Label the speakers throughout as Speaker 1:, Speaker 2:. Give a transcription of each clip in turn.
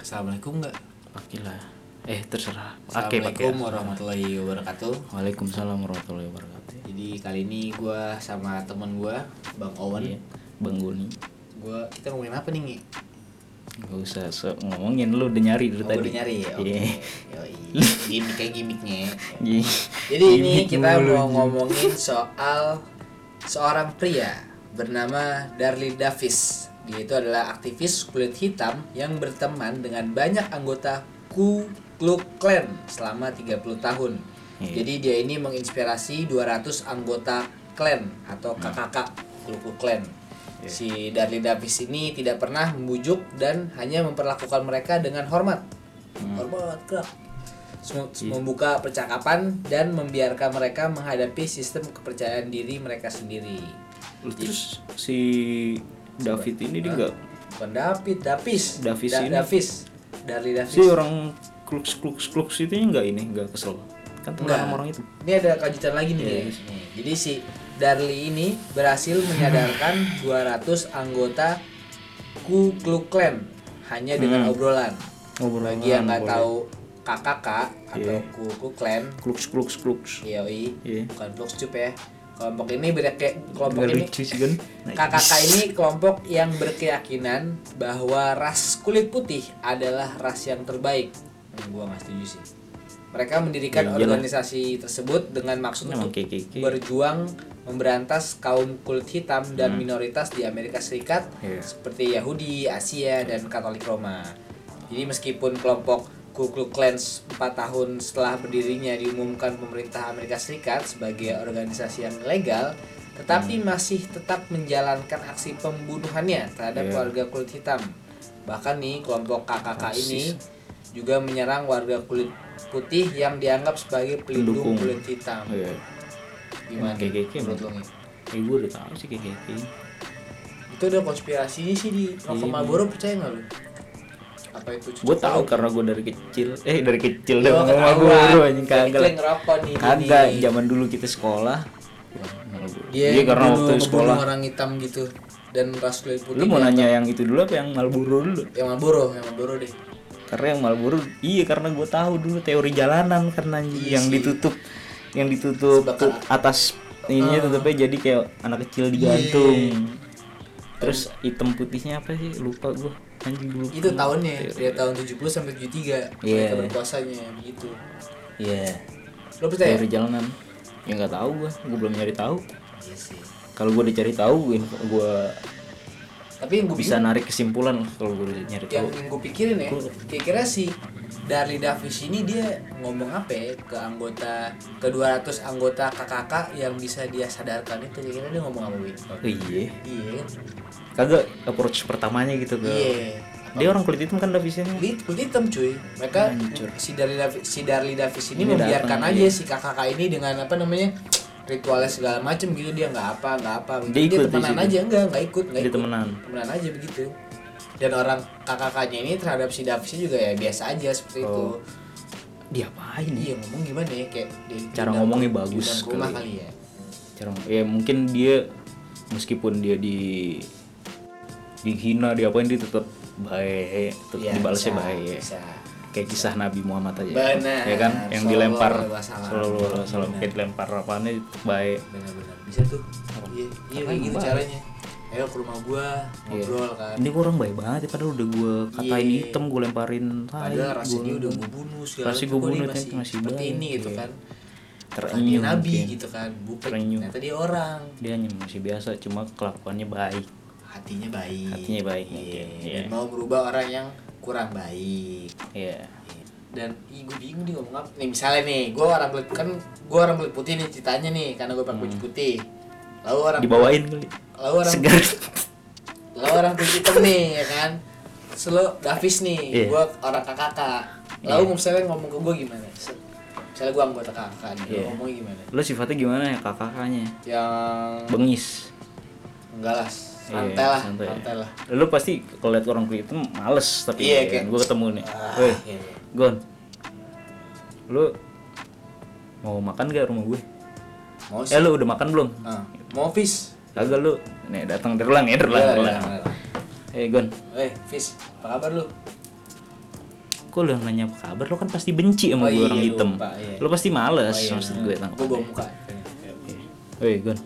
Speaker 1: Assalamualaikum nggak?
Speaker 2: Pakilah. Eh terserah. Pakai pakai.
Speaker 1: Assalamualaikum warahmatullahi wabarakatuh.
Speaker 2: Waalaikumsalam warahmatullahi wabarakatuh.
Speaker 1: Jadi kali ini gua sama temen gua Bang Owen.
Speaker 2: Iya, Bang Guni.
Speaker 1: Gua kita ngomongin apa nih? Ngi?
Speaker 2: Gak usah sok ngomongin lu udah nyari dari
Speaker 1: Oh,
Speaker 2: tadi.
Speaker 1: udah nyari ya. Oke.
Speaker 2: Iya.
Speaker 1: Yoi. Gimik kayak gimiknya.
Speaker 2: Iya.
Speaker 1: Jadi ini
Speaker 2: Gimik
Speaker 1: kita
Speaker 2: mulu,
Speaker 1: mau
Speaker 2: Ji.
Speaker 1: ngomongin soal seorang pria bernama Darli Davis. Dia itu adalah aktivis kulit hitam yang berteman dengan banyak anggota Ku Klux Klan selama 30 tahun.
Speaker 2: Iya.
Speaker 1: Jadi dia ini menginspirasi 200 anggota Klan atau
Speaker 2: Nah.
Speaker 1: kakak-kakak Ku Klux Klan.
Speaker 2: Iya.
Speaker 1: Si Darli Davis ini tidak pernah membujuk dan hanya memperlakukan mereka dengan hormat.
Speaker 2: Hmm.
Speaker 1: Hormat, gerak Sem-
Speaker 2: Iya.
Speaker 1: membuka percakapan dan membiarkan mereka menghadapi sistem kepercayaan diri mereka sendiri. Iya.
Speaker 2: Lu Terus si David ini dia nggak
Speaker 1: Bukan David, Davis.
Speaker 2: Davis ini.
Speaker 1: Davis. Dari Davis.
Speaker 2: si orang klux klux klux itu nggak ini nggak kesel kan teman
Speaker 1: Nggak.
Speaker 2: sama orang itu
Speaker 1: Nah,
Speaker 2: Iya,
Speaker 1: Ini ada kelanjutan lagi nih. guys. Nih, Jadi si Darli ini berhasil menyadarkan 200 anggota Ku Klux Klan hanya dengan obrolan.
Speaker 2: Obrolan,
Speaker 1: Bagi yang nggak
Speaker 2: Hmm. boleh. Iya.
Speaker 1: tahu kakak atau Ku Klux Klan,
Speaker 2: klux klux klux
Speaker 1: Yoi,
Speaker 2: Iya.
Speaker 1: bukan Flux Tube ya. Kelompok ini beda kayak kelompok
Speaker 2: Nggak
Speaker 1: ini
Speaker 2: lucu sih kan Nah,
Speaker 1: KKK ini kelompok yang berkeyakinan bahwa ras kulit putih adalah ras yang terbaik. Hmm, gua nggak setuju sih. Mereka mendirikan
Speaker 2: Ya iyalah.
Speaker 1: organisasi tersebut dengan maksud
Speaker 2: Emang
Speaker 1: untuk
Speaker 2: kiki-kiki.
Speaker 1: berjuang memberantas kaum kulit hitam dan minoritas di Amerika Serikat
Speaker 2: Hmm. Iya.
Speaker 1: seperti Yahudi, Asia, dan Katolik Roma. Jadi meskipun kelompok Ku Klux Klan 4 tahun setelah berdirinya diumumkan pemerintah Amerika Serikat sebagai organisasi yang legal, tetapi
Speaker 2: Hmm.
Speaker 1: masih tetap menjalankan aksi pembunuhannya terhadap
Speaker 2: Iya.
Speaker 1: warga kulit hitam. Bahkan nih kelompok KKK ini juga menyerang warga kulit putih yang dianggap sebagai pelindung
Speaker 2: Pendukung.
Speaker 1: kulit hitam.
Speaker 2: Iya.
Speaker 1: Gimana
Speaker 2: KKK
Speaker 1: menurut lo nih?
Speaker 2: Eh, gue udah tahu sih kayak kayak
Speaker 1: Itu udah konspirasinya sih di Rokok
Speaker 2: Iya.
Speaker 1: Marlboro percaya nggak lo? Apa itu cucu
Speaker 2: gue tahu karena gue dari kecil eh dari kecil
Speaker 1: Lu
Speaker 2: dah ngomong sama
Speaker 1: ketahuan.
Speaker 2: guru anjing kagak
Speaker 1: Kecil
Speaker 2: lah.
Speaker 1: ngerokok nih,
Speaker 2: kagak
Speaker 1: ini.
Speaker 2: zaman dulu kita sekolah
Speaker 1: Dia
Speaker 2: dia, Iya, karena
Speaker 1: dulu
Speaker 2: waktu
Speaker 1: ngebunuh
Speaker 2: sekolah
Speaker 1: orang hitam gitu dan ras kulit putih.
Speaker 2: lu mau
Speaker 1: dia-
Speaker 2: nanya yang itu dulu apa yang Malboro dulu
Speaker 1: Yang Marlboro, yang Marlboro deh.
Speaker 2: karena yang Malboro iya karena gue tahu dulu teori jalanan karena anjing, yang ditutup yang ditutup
Speaker 1: Sebakar.
Speaker 2: atas ini tutupnya jadi kayak anak kecil digantung Iya. terus hitam putihnya apa sih lupa gue anjing dulu
Speaker 1: Itu tahunnya, dari tahun 70 sampai 73
Speaker 2: Hmm. Iya.
Speaker 1: mereka berkuasanya begitu.
Speaker 2: iya
Speaker 1: Lo percaya?
Speaker 2: teori jalanan ya nggak tahu gue gue belum nyari tahu
Speaker 1: Iya sih.
Speaker 2: kalau gue dicari tahu gue
Speaker 1: Tapi yang gue
Speaker 2: bisa narik kesimpulan lah kalau gue nyari
Speaker 1: yang
Speaker 2: tahu
Speaker 1: gue pikirin ya kira-kira si Darli Davis ini dia ngomong apa ya ke anggota ke 200 anggota KKK yang bisa dia sadarkan itu kira-kira dia ngomong apa Win?
Speaker 2: Oh, iya
Speaker 1: Iya kan?
Speaker 2: kagak approach pertamanya gitu ke
Speaker 1: Iya.
Speaker 2: dia orang kulit hitam kan Davisnya
Speaker 1: Kulit, kulit hitam cuy. Mereka
Speaker 2: Nah, Hancur.
Speaker 1: si Darli Davis, si Darli Davis ini,
Speaker 2: Ini
Speaker 1: membiarkan
Speaker 2: datang,
Speaker 1: aja
Speaker 2: iya.
Speaker 1: si KKK ini dengan apa namanya ritualnya segala macem gitu dia nggak apa nggak apa gitu.
Speaker 2: Dia
Speaker 1: dia,
Speaker 2: ikut di
Speaker 1: temenan
Speaker 2: situ.
Speaker 1: aja enggak nggak ikut nggak
Speaker 2: Dia
Speaker 1: ikut
Speaker 2: temenan.
Speaker 1: temenan aja begitu dan orang kakak-kakaknya ini terhadap si Davisnya juga ya biasa aja seperti itu
Speaker 2: Oh. dia apain ya
Speaker 1: Iya ngomong gimana ya kayak di-
Speaker 2: Cara
Speaker 1: diundang-
Speaker 2: ngomongnya bagus
Speaker 1: diundang ke rumah
Speaker 2: kali.
Speaker 1: kali ya.
Speaker 2: cara ya mungkin dia meskipun dia di dihina diapain dia tetap baik tetap
Speaker 1: Iya,
Speaker 2: dibalasnya
Speaker 1: bisa,
Speaker 2: baik
Speaker 1: bisa.
Speaker 2: kayak kisah Nabi Muhammad aja
Speaker 1: Benar.
Speaker 2: ya kan yang
Speaker 1: Sallallahu
Speaker 2: dilempar
Speaker 1: alaihi wasallam.
Speaker 2: selalu selalu kayak dilempar apaannya tetap baik
Speaker 1: Benar-benar bisa tuh. Iya, iya kayak gitu caranya. Ayo ke rumah gua
Speaker 2: Iya.
Speaker 1: ngobrol kan.
Speaker 2: ini gue orang baik banget ya, padahal udah gue katain
Speaker 1: Iya.
Speaker 2: hitam gue lemparin tai,
Speaker 1: Padahal ras
Speaker 2: gua-
Speaker 1: ini udah gua bunuh segala
Speaker 2: Ras
Speaker 1: macam,
Speaker 2: gua
Speaker 1: kok dia
Speaker 2: bunuh, tapi masih
Speaker 1: seperti
Speaker 2: baik,
Speaker 1: ini gitu
Speaker 2: iya.
Speaker 1: kan. Tadi
Speaker 2: terenyuh
Speaker 1: nabi
Speaker 2: mungkin.
Speaker 1: gitu kan, bukan
Speaker 2: Terenyuh.
Speaker 1: ternyata dia orang.
Speaker 2: dia hanya masih biasa cuma kelakuannya baik
Speaker 1: Hatinya baik.
Speaker 2: Hatinya baik,
Speaker 1: Iya.
Speaker 2: mungkin.
Speaker 1: Dan
Speaker 2: Iya.
Speaker 1: mau berubah orang yang kurang baik.
Speaker 2: ya
Speaker 1: dan ih gue bingung dia ngomong apa nih misalnya nih gue orang kulit kan gue orang kulit putih nih ceritanya nih karena gue pakai baju putih lalu orang
Speaker 2: dibawain kali
Speaker 1: lalu orang
Speaker 2: Hmm. segar
Speaker 1: lalu orang kulit hitam nih ya kan selalu Davis nih
Speaker 2: Iya.
Speaker 1: gue orang kakak lalu misalnya ngomong ke gue gimana Se- misalnya gue anggota kakak nih lu
Speaker 2: Iya.
Speaker 1: ngomongnya gimana
Speaker 2: lo sifatnya gimana ya kakaknya
Speaker 1: yang
Speaker 2: bengis
Speaker 1: enggak lah santai
Speaker 2: Iya,
Speaker 1: lah
Speaker 2: santai.
Speaker 1: santai lah
Speaker 2: lu pasti kalau lihat orang kulit hitam males tapi
Speaker 1: Iya,
Speaker 2: ya
Speaker 1: kayak-
Speaker 2: kan, gue ketemu nih
Speaker 1: Ah,
Speaker 2: weh
Speaker 1: iya, iya.
Speaker 2: gon lu mau makan gak rumah gue
Speaker 1: Mau
Speaker 2: eh lu udah makan belum
Speaker 1: Ah, mau fish?
Speaker 2: kagak lu nih datang terulang ya terulang
Speaker 1: Iya,
Speaker 2: terulang
Speaker 1: iya, iya.
Speaker 2: eh Gon
Speaker 1: Eh, fish, apa kabar lu?
Speaker 2: kok lu yang nanya apa kabar lu kan pasti benci sama
Speaker 1: Oh
Speaker 2: gue
Speaker 1: iya,
Speaker 2: orang hitam
Speaker 1: lupa, iya.
Speaker 2: lu pasti males
Speaker 1: Oh, iya.
Speaker 2: maksud gue tangkap
Speaker 1: Aku bawa muka.
Speaker 2: Woi Gon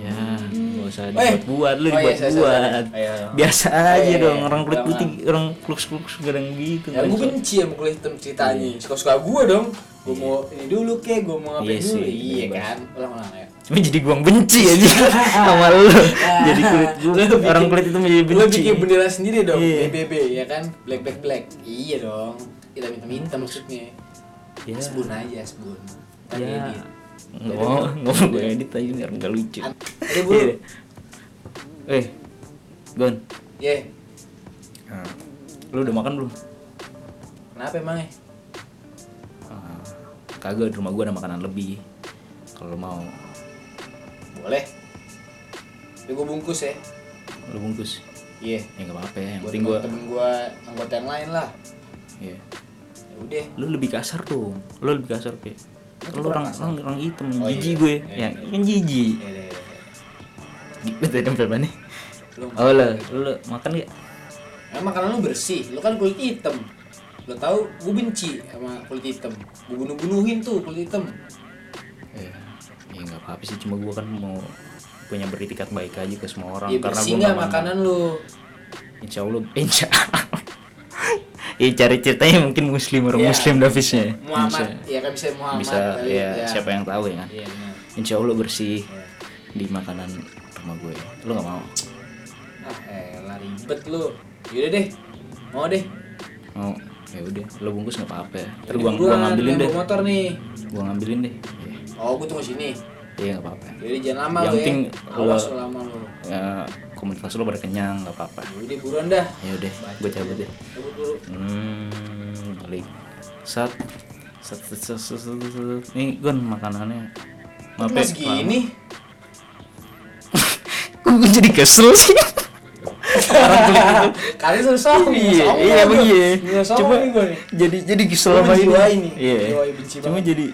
Speaker 2: ya gak usah
Speaker 1: Eh.
Speaker 2: dibuat buat lu
Speaker 1: Oh, iya,
Speaker 2: dibuat
Speaker 1: sorry,
Speaker 2: buat
Speaker 1: sorry. Ayo, ayo.
Speaker 2: biasa
Speaker 1: Oh,
Speaker 2: aja
Speaker 1: iya,
Speaker 2: dong
Speaker 1: iya.
Speaker 2: orang kulit
Speaker 1: Udah,
Speaker 2: putih orang klux klux gadang gitu
Speaker 1: Ya, gue
Speaker 2: Gon.
Speaker 1: benci sama kulit hitam
Speaker 2: Iya.
Speaker 1: ceritanya. Suka-suka gue dong. Gue mau ini dulu kek, gue mau ngapain
Speaker 2: Iya
Speaker 1: dulu.
Speaker 2: sih,
Speaker 1: Iya
Speaker 2: bebas.
Speaker 1: kan? Ulang-ulang ya.
Speaker 2: Cuma jadi gua yang benci aja sama lu. jadi kulit gua
Speaker 1: Lu Ah. bikin-
Speaker 2: orang kulit itu menjadi
Speaker 1: Lu
Speaker 2: benci.
Speaker 1: bikin bendera sendiri dong,
Speaker 2: Iya.
Speaker 1: BBB ya kan? Black black black. Iya dong. Kita minta-minta maksudnya.
Speaker 2: Ya.
Speaker 1: Asbun aja, asbun. Tadi
Speaker 2: Ya.
Speaker 1: edit.
Speaker 2: Nggak mau, nggak mau gue edit aja biar nggak lucu.
Speaker 1: An- Aduh, bro.
Speaker 2: Iya deh. Eh, Gon,
Speaker 1: Ye,
Speaker 2: lu udah makan belum?
Speaker 1: kenapa emang ya?
Speaker 2: Ah, kagak di rumah gua ada makanan lebih. Kalau lu mau,
Speaker 1: Boleh. Tapi gue bungkus ya.
Speaker 2: lu bungkus.
Speaker 1: Iya.
Speaker 2: Ya nggak apa-apa. Yang
Speaker 1: Buat
Speaker 2: penting gua,
Speaker 1: temen gue anggota yang lain lah.
Speaker 2: Iya.
Speaker 1: Ya udah.
Speaker 2: lu lebih kasar dong. Lu lebih kasar kayak. Lu
Speaker 1: kurang
Speaker 2: orang,
Speaker 1: kasar.
Speaker 2: orang orang hitam,
Speaker 1: Oh, iya.
Speaker 2: jijik gue.
Speaker 1: Iya,
Speaker 2: Ya,
Speaker 1: iya.
Speaker 2: kan
Speaker 1: Ya
Speaker 2: jijik.
Speaker 1: udah. ya udah.
Speaker 2: Gitu tadi tempel mana?
Speaker 1: Lu
Speaker 2: Oh lo, lo makan gak?
Speaker 1: Emang makanan lu bersih, lu kan kulit hitam. Lu tahu gue benci sama kulit hitam. Gue bunuh-bunuhin tuh kulit hitam.
Speaker 2: Ya, ya nggak apa-apa sih, cuma gua kan mau punya beritikat baik aja ke semua orang
Speaker 1: Ya
Speaker 2: karena
Speaker 1: bersih nggak
Speaker 2: gua nggak makan.
Speaker 1: makanan lu?
Speaker 2: Insya Allah, insya. ya cari ceritanya mungkin muslim orang
Speaker 1: Iya.
Speaker 2: muslim Davisnya.
Speaker 1: Muhammad, ya kan bisa
Speaker 2: Bisa,
Speaker 1: Muhammad
Speaker 2: bisa
Speaker 1: kali,
Speaker 2: ya, siapa yang tahu ya kan?
Speaker 1: Iya benar.
Speaker 2: Insya Allah bersih
Speaker 1: Iya.
Speaker 2: di makanan rumah gue. Lo nggak mau?
Speaker 1: Ah, elah ribet lu. Yaudah deh. Mau deh.
Speaker 2: Mau? Ya udah, lo bungkus nggak apa-apa. Ya.
Speaker 1: Yaudah,
Speaker 2: Ntar gua, gua
Speaker 1: duluan,
Speaker 2: ngambilin
Speaker 1: yang
Speaker 2: deh.
Speaker 1: bawa motor nih.
Speaker 2: Gua ngambilin deh. Iya,
Speaker 1: Oh, gue tunggu sini.
Speaker 2: Iya nggak apa-apa.
Speaker 1: Yaudah jangan lama
Speaker 2: Yang
Speaker 1: lu
Speaker 2: penting
Speaker 1: ya. Awas
Speaker 2: lu-
Speaker 1: lu lama lu.
Speaker 2: Ya, komunitas lo pada kenyang nggak apa-apa.
Speaker 1: Yaudah buruan dah.
Speaker 2: Ya udah, gue cabut deh.
Speaker 1: Cabut dulu.
Speaker 2: Hmm, balik. Sat, sat, sat, sat, sat, sat, sat, sat. Nih, Gon makanannya. Maaf
Speaker 1: Mas
Speaker 2: ya, lama.
Speaker 1: gini.
Speaker 2: Gue jadi kesel sih.
Speaker 1: Kalian suruh sombong.
Speaker 2: iya,
Speaker 1: sombong
Speaker 2: iya,
Speaker 1: lu.
Speaker 2: iya.
Speaker 1: Nggak sombong
Speaker 2: Cuma
Speaker 1: nih gua nih.
Speaker 2: jadi jadi kesel
Speaker 1: Lu
Speaker 2: sama ini.
Speaker 1: menjiwai nih,
Speaker 2: Iya.
Speaker 1: menjiwai, benci
Speaker 2: Cuma
Speaker 1: banget.
Speaker 2: jadi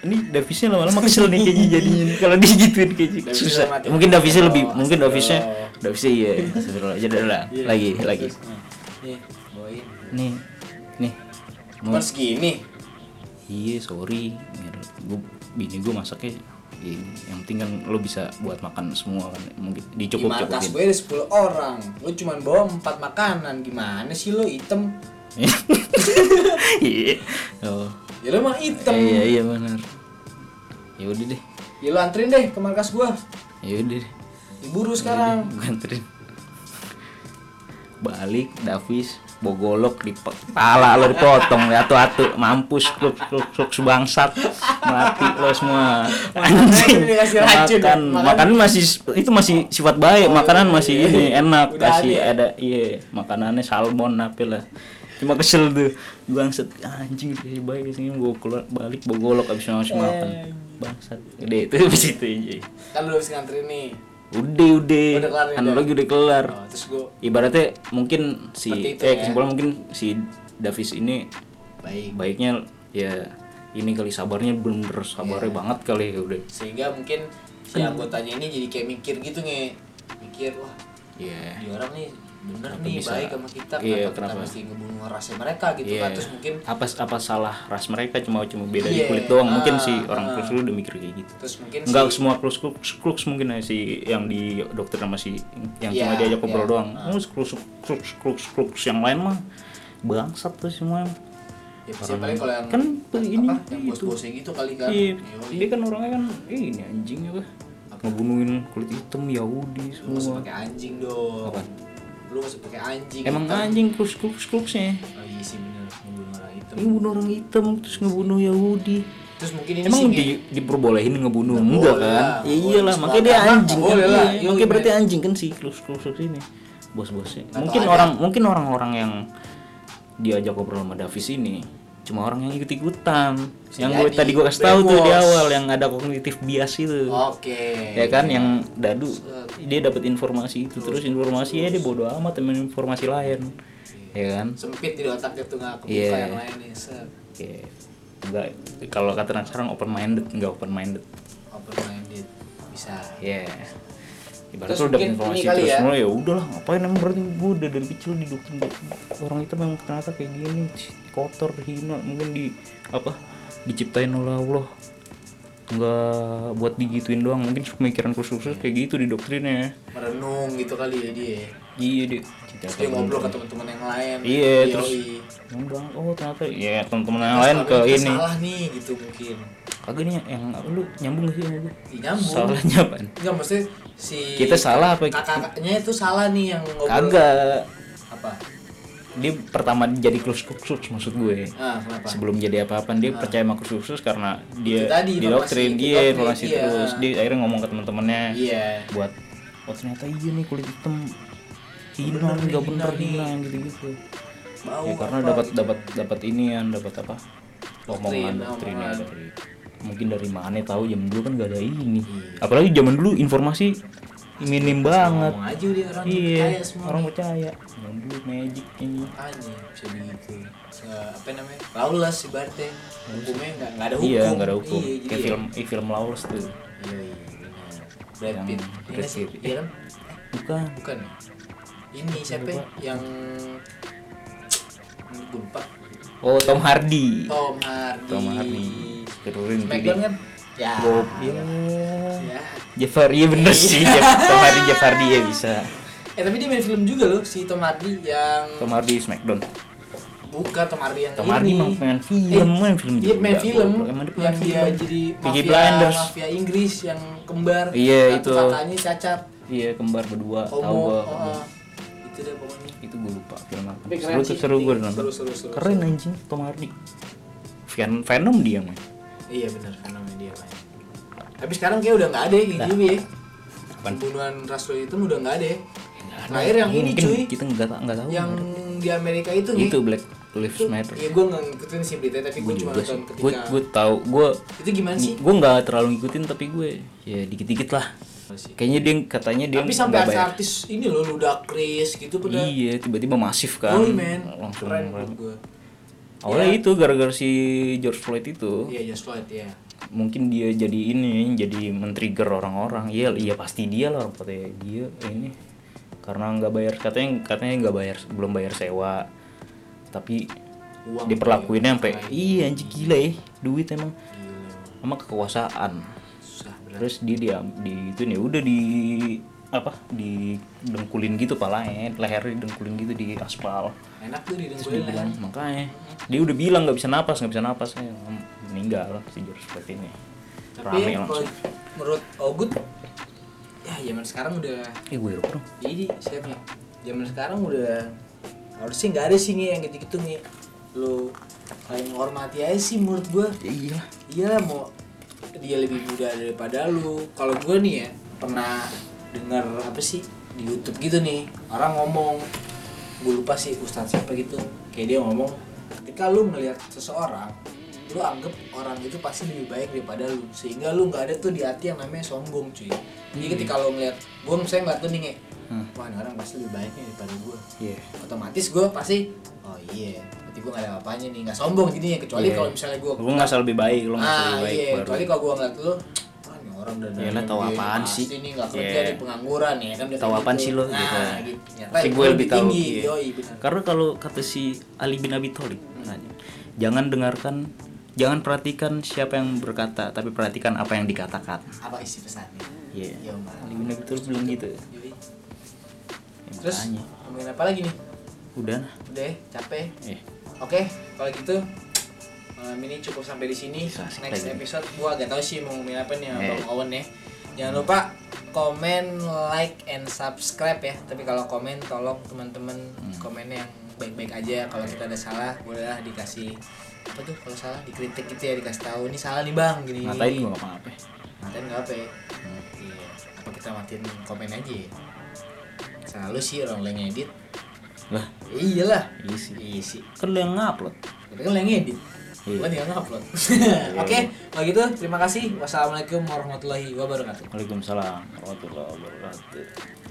Speaker 2: ini Davisnya lama-lama kesel nih kayaknya jadinya nih. kalau digituin kayaknya
Speaker 1: Davisnya
Speaker 2: susah.
Speaker 1: mati.
Speaker 2: Mungkin Davisnya lebih,
Speaker 1: Oh,
Speaker 2: mungkin Davisnya,
Speaker 1: astagfirullah.
Speaker 2: Davisnya iya. Astagfirullah aja dah lah.
Speaker 1: Iya.
Speaker 2: Lagi, lagi.
Speaker 1: Terus, nah, Nih, bawain.
Speaker 2: Nih, nih. Mau-
Speaker 1: Cuman segini.
Speaker 2: iya sorry gue bini gue masaknya ya, yang penting kan lo bisa buat makan semua kan mungkin gitu.
Speaker 1: Di
Speaker 2: dicukup
Speaker 1: markas gue
Speaker 2: cukupin
Speaker 1: ada 10 orang. Lu cuman bawa 4 makanan. Gimana sih lu item?
Speaker 2: iya oh
Speaker 1: Ya lu mah item.
Speaker 2: iya iya benar ya udah deh
Speaker 1: Ya lu anterin deh ke markas gua.
Speaker 2: ya udah deh
Speaker 1: Diburu
Speaker 2: Iya,
Speaker 1: sekarang.
Speaker 2: gue anterin balik Davis bogolok di pe- pala lo dipotong atu atu mampus kluk kluk kluk sebangsat mati lo semua anjing
Speaker 1: Makanya dikasih racun, ya.
Speaker 2: makan
Speaker 1: Oh, iya,
Speaker 2: makan masih itu masih sifat baik makanan masih ini enak
Speaker 1: Udah ada
Speaker 2: kasih
Speaker 1: ya?
Speaker 2: ada iya makanannya salmon apa lah cuma kesel tuh bangsat anjing udah baik kesini gue keluar balik bogolok abis langsung
Speaker 1: Eh.
Speaker 2: makan bangsat udah itu abis itu aja
Speaker 1: Kan lu harus nganterin nih.
Speaker 2: udah udah
Speaker 1: Udah kelar nih,
Speaker 2: analogi udah kelar
Speaker 1: Oh, terus gua
Speaker 2: ibaratnya mungkin si
Speaker 1: Seperti itu,
Speaker 2: eh
Speaker 1: ya. Iya.
Speaker 2: kesimpulan mungkin si Davis ini
Speaker 1: baik.
Speaker 2: baiknya ya ini kali sabarnya belum bener
Speaker 1: Iya.
Speaker 2: sabarnya banget kali ya udah
Speaker 1: Sehingga mungkin si anggotanya ini jadi kayak mikir gitu nge. Mikir, wah
Speaker 2: ya
Speaker 1: di orang nih bener
Speaker 2: Kenapa
Speaker 1: nih
Speaker 2: bisa?
Speaker 1: baik sama kita
Speaker 2: Iya,
Speaker 1: kenapa,
Speaker 2: kenapa? Iya,
Speaker 1: kita mesti ngebunuh rasnya mereka gitu kan terus mungkin
Speaker 2: apa apa salah ras mereka cuma cuma beda di
Speaker 1: Iya,
Speaker 2: kulit doang mungkin
Speaker 1: ah,
Speaker 2: si orang
Speaker 1: ah.
Speaker 2: plus udah mikir kayak gitu
Speaker 1: terus mungkin
Speaker 2: Enggak
Speaker 1: si-
Speaker 2: semua klus klus klus mungkin aja si yang di dokter sama si yang cuma
Speaker 1: Iya,
Speaker 2: diajak ngobrol
Speaker 1: iya.
Speaker 2: doang. Terus klus klus klus klus yang lain mah bangsat tuh semua.
Speaker 1: ya, siapa lagi kalau yang
Speaker 2: Kan tuh ini
Speaker 1: apa, yang bos-bosnya gitu kali kan
Speaker 2: Iya,
Speaker 1: Yoi.
Speaker 2: dia kan orangnya kan eh, ini anjing apa? Ngebunuhin kulit hitam Yahudi
Speaker 1: lu masih
Speaker 2: semua.
Speaker 1: pakai anjing dong
Speaker 2: Apaan?
Speaker 1: lu masih pakai anjing
Speaker 2: Emang
Speaker 1: hitam.
Speaker 2: anjing klus klus klusnya.
Speaker 1: oh, iya sih bener ngebunuh orang hitam
Speaker 2: Ini bunuh orang hitam terus ngebunuh Yahudi.
Speaker 1: terus mungkin ini sih
Speaker 2: Emang
Speaker 1: kayak-
Speaker 2: di, diperbolehin ngebunuh
Speaker 1: Nggak boleh
Speaker 2: enggak kan?
Speaker 1: lah.
Speaker 2: Ya iyalah,
Speaker 1: Boleh,
Speaker 2: makanya dia
Speaker 1: sepakat.
Speaker 2: anjing kan.
Speaker 1: Boleh lah.
Speaker 2: Iya,
Speaker 1: Yo,
Speaker 2: Makanya berarti
Speaker 1: gimana?
Speaker 2: anjing kan si klus-klus ini. Bos-bosnya.
Speaker 1: Nggak
Speaker 2: Mungkin
Speaker 1: tahu
Speaker 2: orang mungkin orang-orang yang diajak ngobrol sama Davis ini cuma orang yang ikut-ikutan. Yang gue
Speaker 1: jadi.
Speaker 2: tadi gue kasih tahu tuh di
Speaker 1: Brainwash.
Speaker 2: awal yang ada kognitif bias itu.
Speaker 1: oke
Speaker 2: Ya kan
Speaker 1: Iya.
Speaker 2: yang dadu dia dapat informasi itu terus informasinya dia bodo amat temen informasi lain. Ya kan?
Speaker 1: sempit di otaknya tuh nggak kebuka
Speaker 2: Iya.
Speaker 1: yang lain nih set
Speaker 2: Oke. enggak kalau kata anak sekarang open minded enggak open minded
Speaker 1: open minded bisa
Speaker 2: ya ibarat
Speaker 1: Terus
Speaker 2: lu
Speaker 1: mungkin
Speaker 2: dapet informasi
Speaker 1: ini kali
Speaker 2: terus
Speaker 1: ya.
Speaker 2: mulai ya udahlah ngapain emang berarti gue udah dari kecil didukung orang itu memang ternyata kayak gini ch, kotor hina mungkin di apa diciptain oleh Allah nggak buat digituin doang mungkin pemikiran khusus
Speaker 1: Iya.
Speaker 2: kayak gitu di doktrinnya
Speaker 1: merenung gitu kali ya dia
Speaker 2: iya deh
Speaker 1: terus dia ngobrol ke teman-teman yang lain
Speaker 2: gitu. Iya,
Speaker 1: Yoi.
Speaker 2: terus Yang bilang, oh ternyata ya teman-teman yang
Speaker 1: Terus
Speaker 2: lain ke
Speaker 1: kalau dia
Speaker 2: ini
Speaker 1: salah nih gitu mungkin
Speaker 2: kagak nih yang lu nyambung gak sih sama gue
Speaker 1: Ih, nyambung
Speaker 2: salahnya apa
Speaker 1: Enggak mesti si
Speaker 2: kita salah apa
Speaker 1: kakaknya itu salah nih yang ngobrol
Speaker 2: kagak
Speaker 1: apa
Speaker 2: dia pertama jadi klus khusus maksud gue
Speaker 1: ah kenapa
Speaker 2: sebelum jadi apa-apa dia percaya sama klus khusus karena
Speaker 1: Itu
Speaker 2: dia
Speaker 1: tadi,
Speaker 2: di
Speaker 1: informasi,
Speaker 2: doktrin
Speaker 1: itu
Speaker 2: dia
Speaker 1: doktrin,
Speaker 2: informasi
Speaker 1: iya.
Speaker 2: terus dia akhirnya ngomong ke teman-temannya
Speaker 1: iya
Speaker 2: buat oh ternyata iya nih kulit hitam
Speaker 1: Iya,
Speaker 2: hina nih, nggak bener hina gitu-gitu
Speaker 1: mau
Speaker 2: ya karena
Speaker 1: apa
Speaker 2: dapat
Speaker 1: gitu.
Speaker 2: dapat dapat ini kan dapat apa omongan doktrinnya
Speaker 1: omongan.
Speaker 2: dari mungkin dari mana tahu zaman dulu kan gak ada ini
Speaker 1: Iya.
Speaker 2: apalagi zaman dulu informasi minim banget
Speaker 1: ngomong aja dia orang
Speaker 2: iya
Speaker 1: percaya semua
Speaker 2: orang percaya zaman dulu magic ini
Speaker 1: Makanya bisa begitu Se- apa namanya laulas ibaratnya hukumnya nggak nggak ada hukum
Speaker 2: iya nggak ada hukum
Speaker 1: iya, jadi
Speaker 2: kayak film eh, film lawless tuh
Speaker 1: iya iya benar Brad
Speaker 2: Yang
Speaker 1: Pitt
Speaker 2: Brad
Speaker 1: Iya nggak sih?
Speaker 2: Pitt.
Speaker 1: Iya kan?
Speaker 2: bukan
Speaker 1: bukan ya? ini siapa ya? yang Ini gue lupa
Speaker 2: oh Tom Hardy
Speaker 1: Tom Hardy
Speaker 2: Tom Hardy keturunan
Speaker 1: Smackdown kan ya
Speaker 2: Bob ya
Speaker 1: ya
Speaker 2: Jafar iya bener sih Jeff- Tom Hardy Jeff Hardy ya bisa
Speaker 1: eh tapi dia main film juga loh si Tom Hardy yang
Speaker 2: Tom Hardy Smackdown
Speaker 1: bukan Tom Hardy yang
Speaker 2: Tom
Speaker 1: ini Eh,
Speaker 2: Hardy emang main film, main film
Speaker 1: dia
Speaker 2: juga.
Speaker 1: main film
Speaker 2: Emang dia
Speaker 1: yang
Speaker 2: main
Speaker 1: dia
Speaker 2: film.
Speaker 1: jadi
Speaker 2: Peaky
Speaker 1: mafia
Speaker 2: Blinders.
Speaker 1: mafia Inggris yang kembar
Speaker 2: Iya,
Speaker 1: satu
Speaker 2: itu.
Speaker 1: kakaknya cacat
Speaker 2: Iya kembar berdua tahu
Speaker 1: homo oh,
Speaker 2: gua
Speaker 1: heeh. itu deh pokoknya
Speaker 2: itu gue lupa film apa
Speaker 1: Tapi keren
Speaker 2: seru tuh
Speaker 1: sih,
Speaker 2: seru gue
Speaker 1: seru,
Speaker 2: nonton
Speaker 1: seru, seru,
Speaker 2: keren anjing Tom Hardy Ven Venom dia mah
Speaker 1: iya benar namanya dia main tapi sekarang kayak udah nggak ada ya kayak gitu ya
Speaker 2: Apaan?
Speaker 1: pembunuhan rasul itu udah nggak ada ya terakhir yang ini
Speaker 2: mungkin
Speaker 1: cuy
Speaker 2: kita nggak ta- nggak tahu
Speaker 1: yang di Amerika itu nih
Speaker 2: itu Black Lives Matter
Speaker 1: ya gue nggak ngikutin sih beritanya tapi gue cuma nonton
Speaker 2: gue
Speaker 1: ketika
Speaker 2: gue tahu gue
Speaker 1: itu gimana sih
Speaker 2: gue nggak terlalu ngikutin tapi gue ya dikit dikit lah kayaknya dia katanya dia
Speaker 1: tapi sampai
Speaker 2: nggak bayar.
Speaker 1: artis ini loh Ludacris gitu pada
Speaker 2: iya tiba-tiba masif kan
Speaker 1: Holy man,
Speaker 2: langsung
Speaker 1: keren Iya. menurut gue.
Speaker 2: awalnya itu gara-gara si George Floyd itu
Speaker 1: Iya, Just Floyd ya.
Speaker 2: mungkin dia jadi ini jadi men-trigger orang-orang iya iya pasti dia lah orang katanya dia ini karena nggak bayar katanya katanya nggak bayar belum bayar sewa tapi
Speaker 1: Uang
Speaker 2: diperlakuinnya sampai iya anjing gila ya duit emang
Speaker 1: Gila,
Speaker 2: sama kekuasaan
Speaker 1: susah berat.
Speaker 2: terus dia dia di itu nih udah di apa di dengkulin gitu palanya lehernya dengkulin gitu di aspal
Speaker 1: Enak tuh
Speaker 2: Terus dia
Speaker 1: didengkulin lah.
Speaker 2: bilang, makanya dia udah bilang nggak bisa napas nggak bisa napas ya, meninggal si George seperti ini
Speaker 1: Tapi
Speaker 2: rame
Speaker 1: ya, kalau
Speaker 2: langsung
Speaker 1: menurut Ogut ya zaman sekarang udah
Speaker 2: eh gue lupa dong.
Speaker 1: jadi siapa ya? Zaman sekarang udah harusnya nggak ada sih nih yang gitu-gitu nih. Lu kayak menghormati aja sih menurut gue.
Speaker 2: ya iyalah
Speaker 1: Iya mau dia lebih muda daripada lu. Kalau gue nih ya pernah dengar apa sih di YouTube gitu nih orang ngomong gue lupa sih ustadz siapa gitu kayak dia ngomong ketika lu melihat seseorang lu anggap orang itu pasti lebih baik daripada lu sehingga lu nggak ada tuh di hati yang namanya sombong cuy jadi ketika lu melihat gue misalnya nggak tuh nih Nge,
Speaker 2: Hmm.
Speaker 1: wah ini orang pasti lebih baik nih daripada gue
Speaker 2: iya
Speaker 1: otomatis gue pasti oh iya berarti gue nggak ada apa-apanya nih nggak sombong jadinya kecuali
Speaker 2: Iya.
Speaker 1: kalau misalnya gue
Speaker 2: gue nggak salah lebih baik lo nggak
Speaker 1: ah
Speaker 2: salah lebih baik
Speaker 1: iya
Speaker 2: baru
Speaker 1: kecuali kalau gue ngeliat lu "Ah, ini orang udah dari
Speaker 2: Yalah, tahu
Speaker 1: gede,
Speaker 2: apaan
Speaker 1: pasti
Speaker 2: sih."
Speaker 1: nih nggak kerja
Speaker 2: Iya.
Speaker 1: di pengangguran ya kan udah
Speaker 2: Tahu
Speaker 1: kayak
Speaker 2: apaan
Speaker 1: gitu.
Speaker 2: sih lo,
Speaker 1: nah,
Speaker 2: gitu.
Speaker 1: gitu. Nyata
Speaker 2: Tapi
Speaker 1: itu
Speaker 2: gue lebih tahu,
Speaker 1: tinggi
Speaker 2: iya.
Speaker 1: yoi benar
Speaker 2: karena kalau kata si Ali bin Abi Thalib katanya, jangan dengarkan jangan perhatikan siapa yang berkata tapi perhatikan apa yang dikatakan
Speaker 1: apa isi pesannya
Speaker 2: iya
Speaker 1: Iya, Mas.
Speaker 2: Ali bin Abi Thalib bilang gitu
Speaker 1: yoi
Speaker 2: Ya,
Speaker 1: terus
Speaker 2: makanya.
Speaker 1: ngomongin apa lagi nih
Speaker 2: udah nah.
Speaker 1: udah ya, capek
Speaker 2: eh
Speaker 1: Oke, kalau gitu malam ini cukup sampai di sini.
Speaker 2: Bisa, asik
Speaker 1: Next
Speaker 2: lagi.
Speaker 1: episode gua agak tahu sih mau ngomongin apa nih sama
Speaker 2: Eh.
Speaker 1: Bang Owen ya. Jangan lupa komen, like, and subscribe ya. Tapi kalau komen tolong teman-teman
Speaker 2: Hmm.
Speaker 1: komennya yang baik-baik aja. Kalau
Speaker 2: Eh.
Speaker 1: kita ada salah bolehlah dikasih apa tuh kalau salah dikritik gitu ya dikasih tahu ini salah nih bang gini
Speaker 2: ngatain gue apa apa
Speaker 1: ngatain nggak apa ya iya apa kita matiin komen aja ya? selalu sih orang lain ngedit
Speaker 2: lah
Speaker 1: iyalah
Speaker 2: iya sih
Speaker 1: iya sih
Speaker 2: kan lo yang ngupload
Speaker 1: tapi kan lo yang ngedit
Speaker 2: Iya.
Speaker 1: Gua tinggal ngupload Oke, kalau gitu terima kasih Wassalamualaikum warahmatullahi wabarakatuh
Speaker 2: Waalaikumsalam warahmatullahi wabarakatuh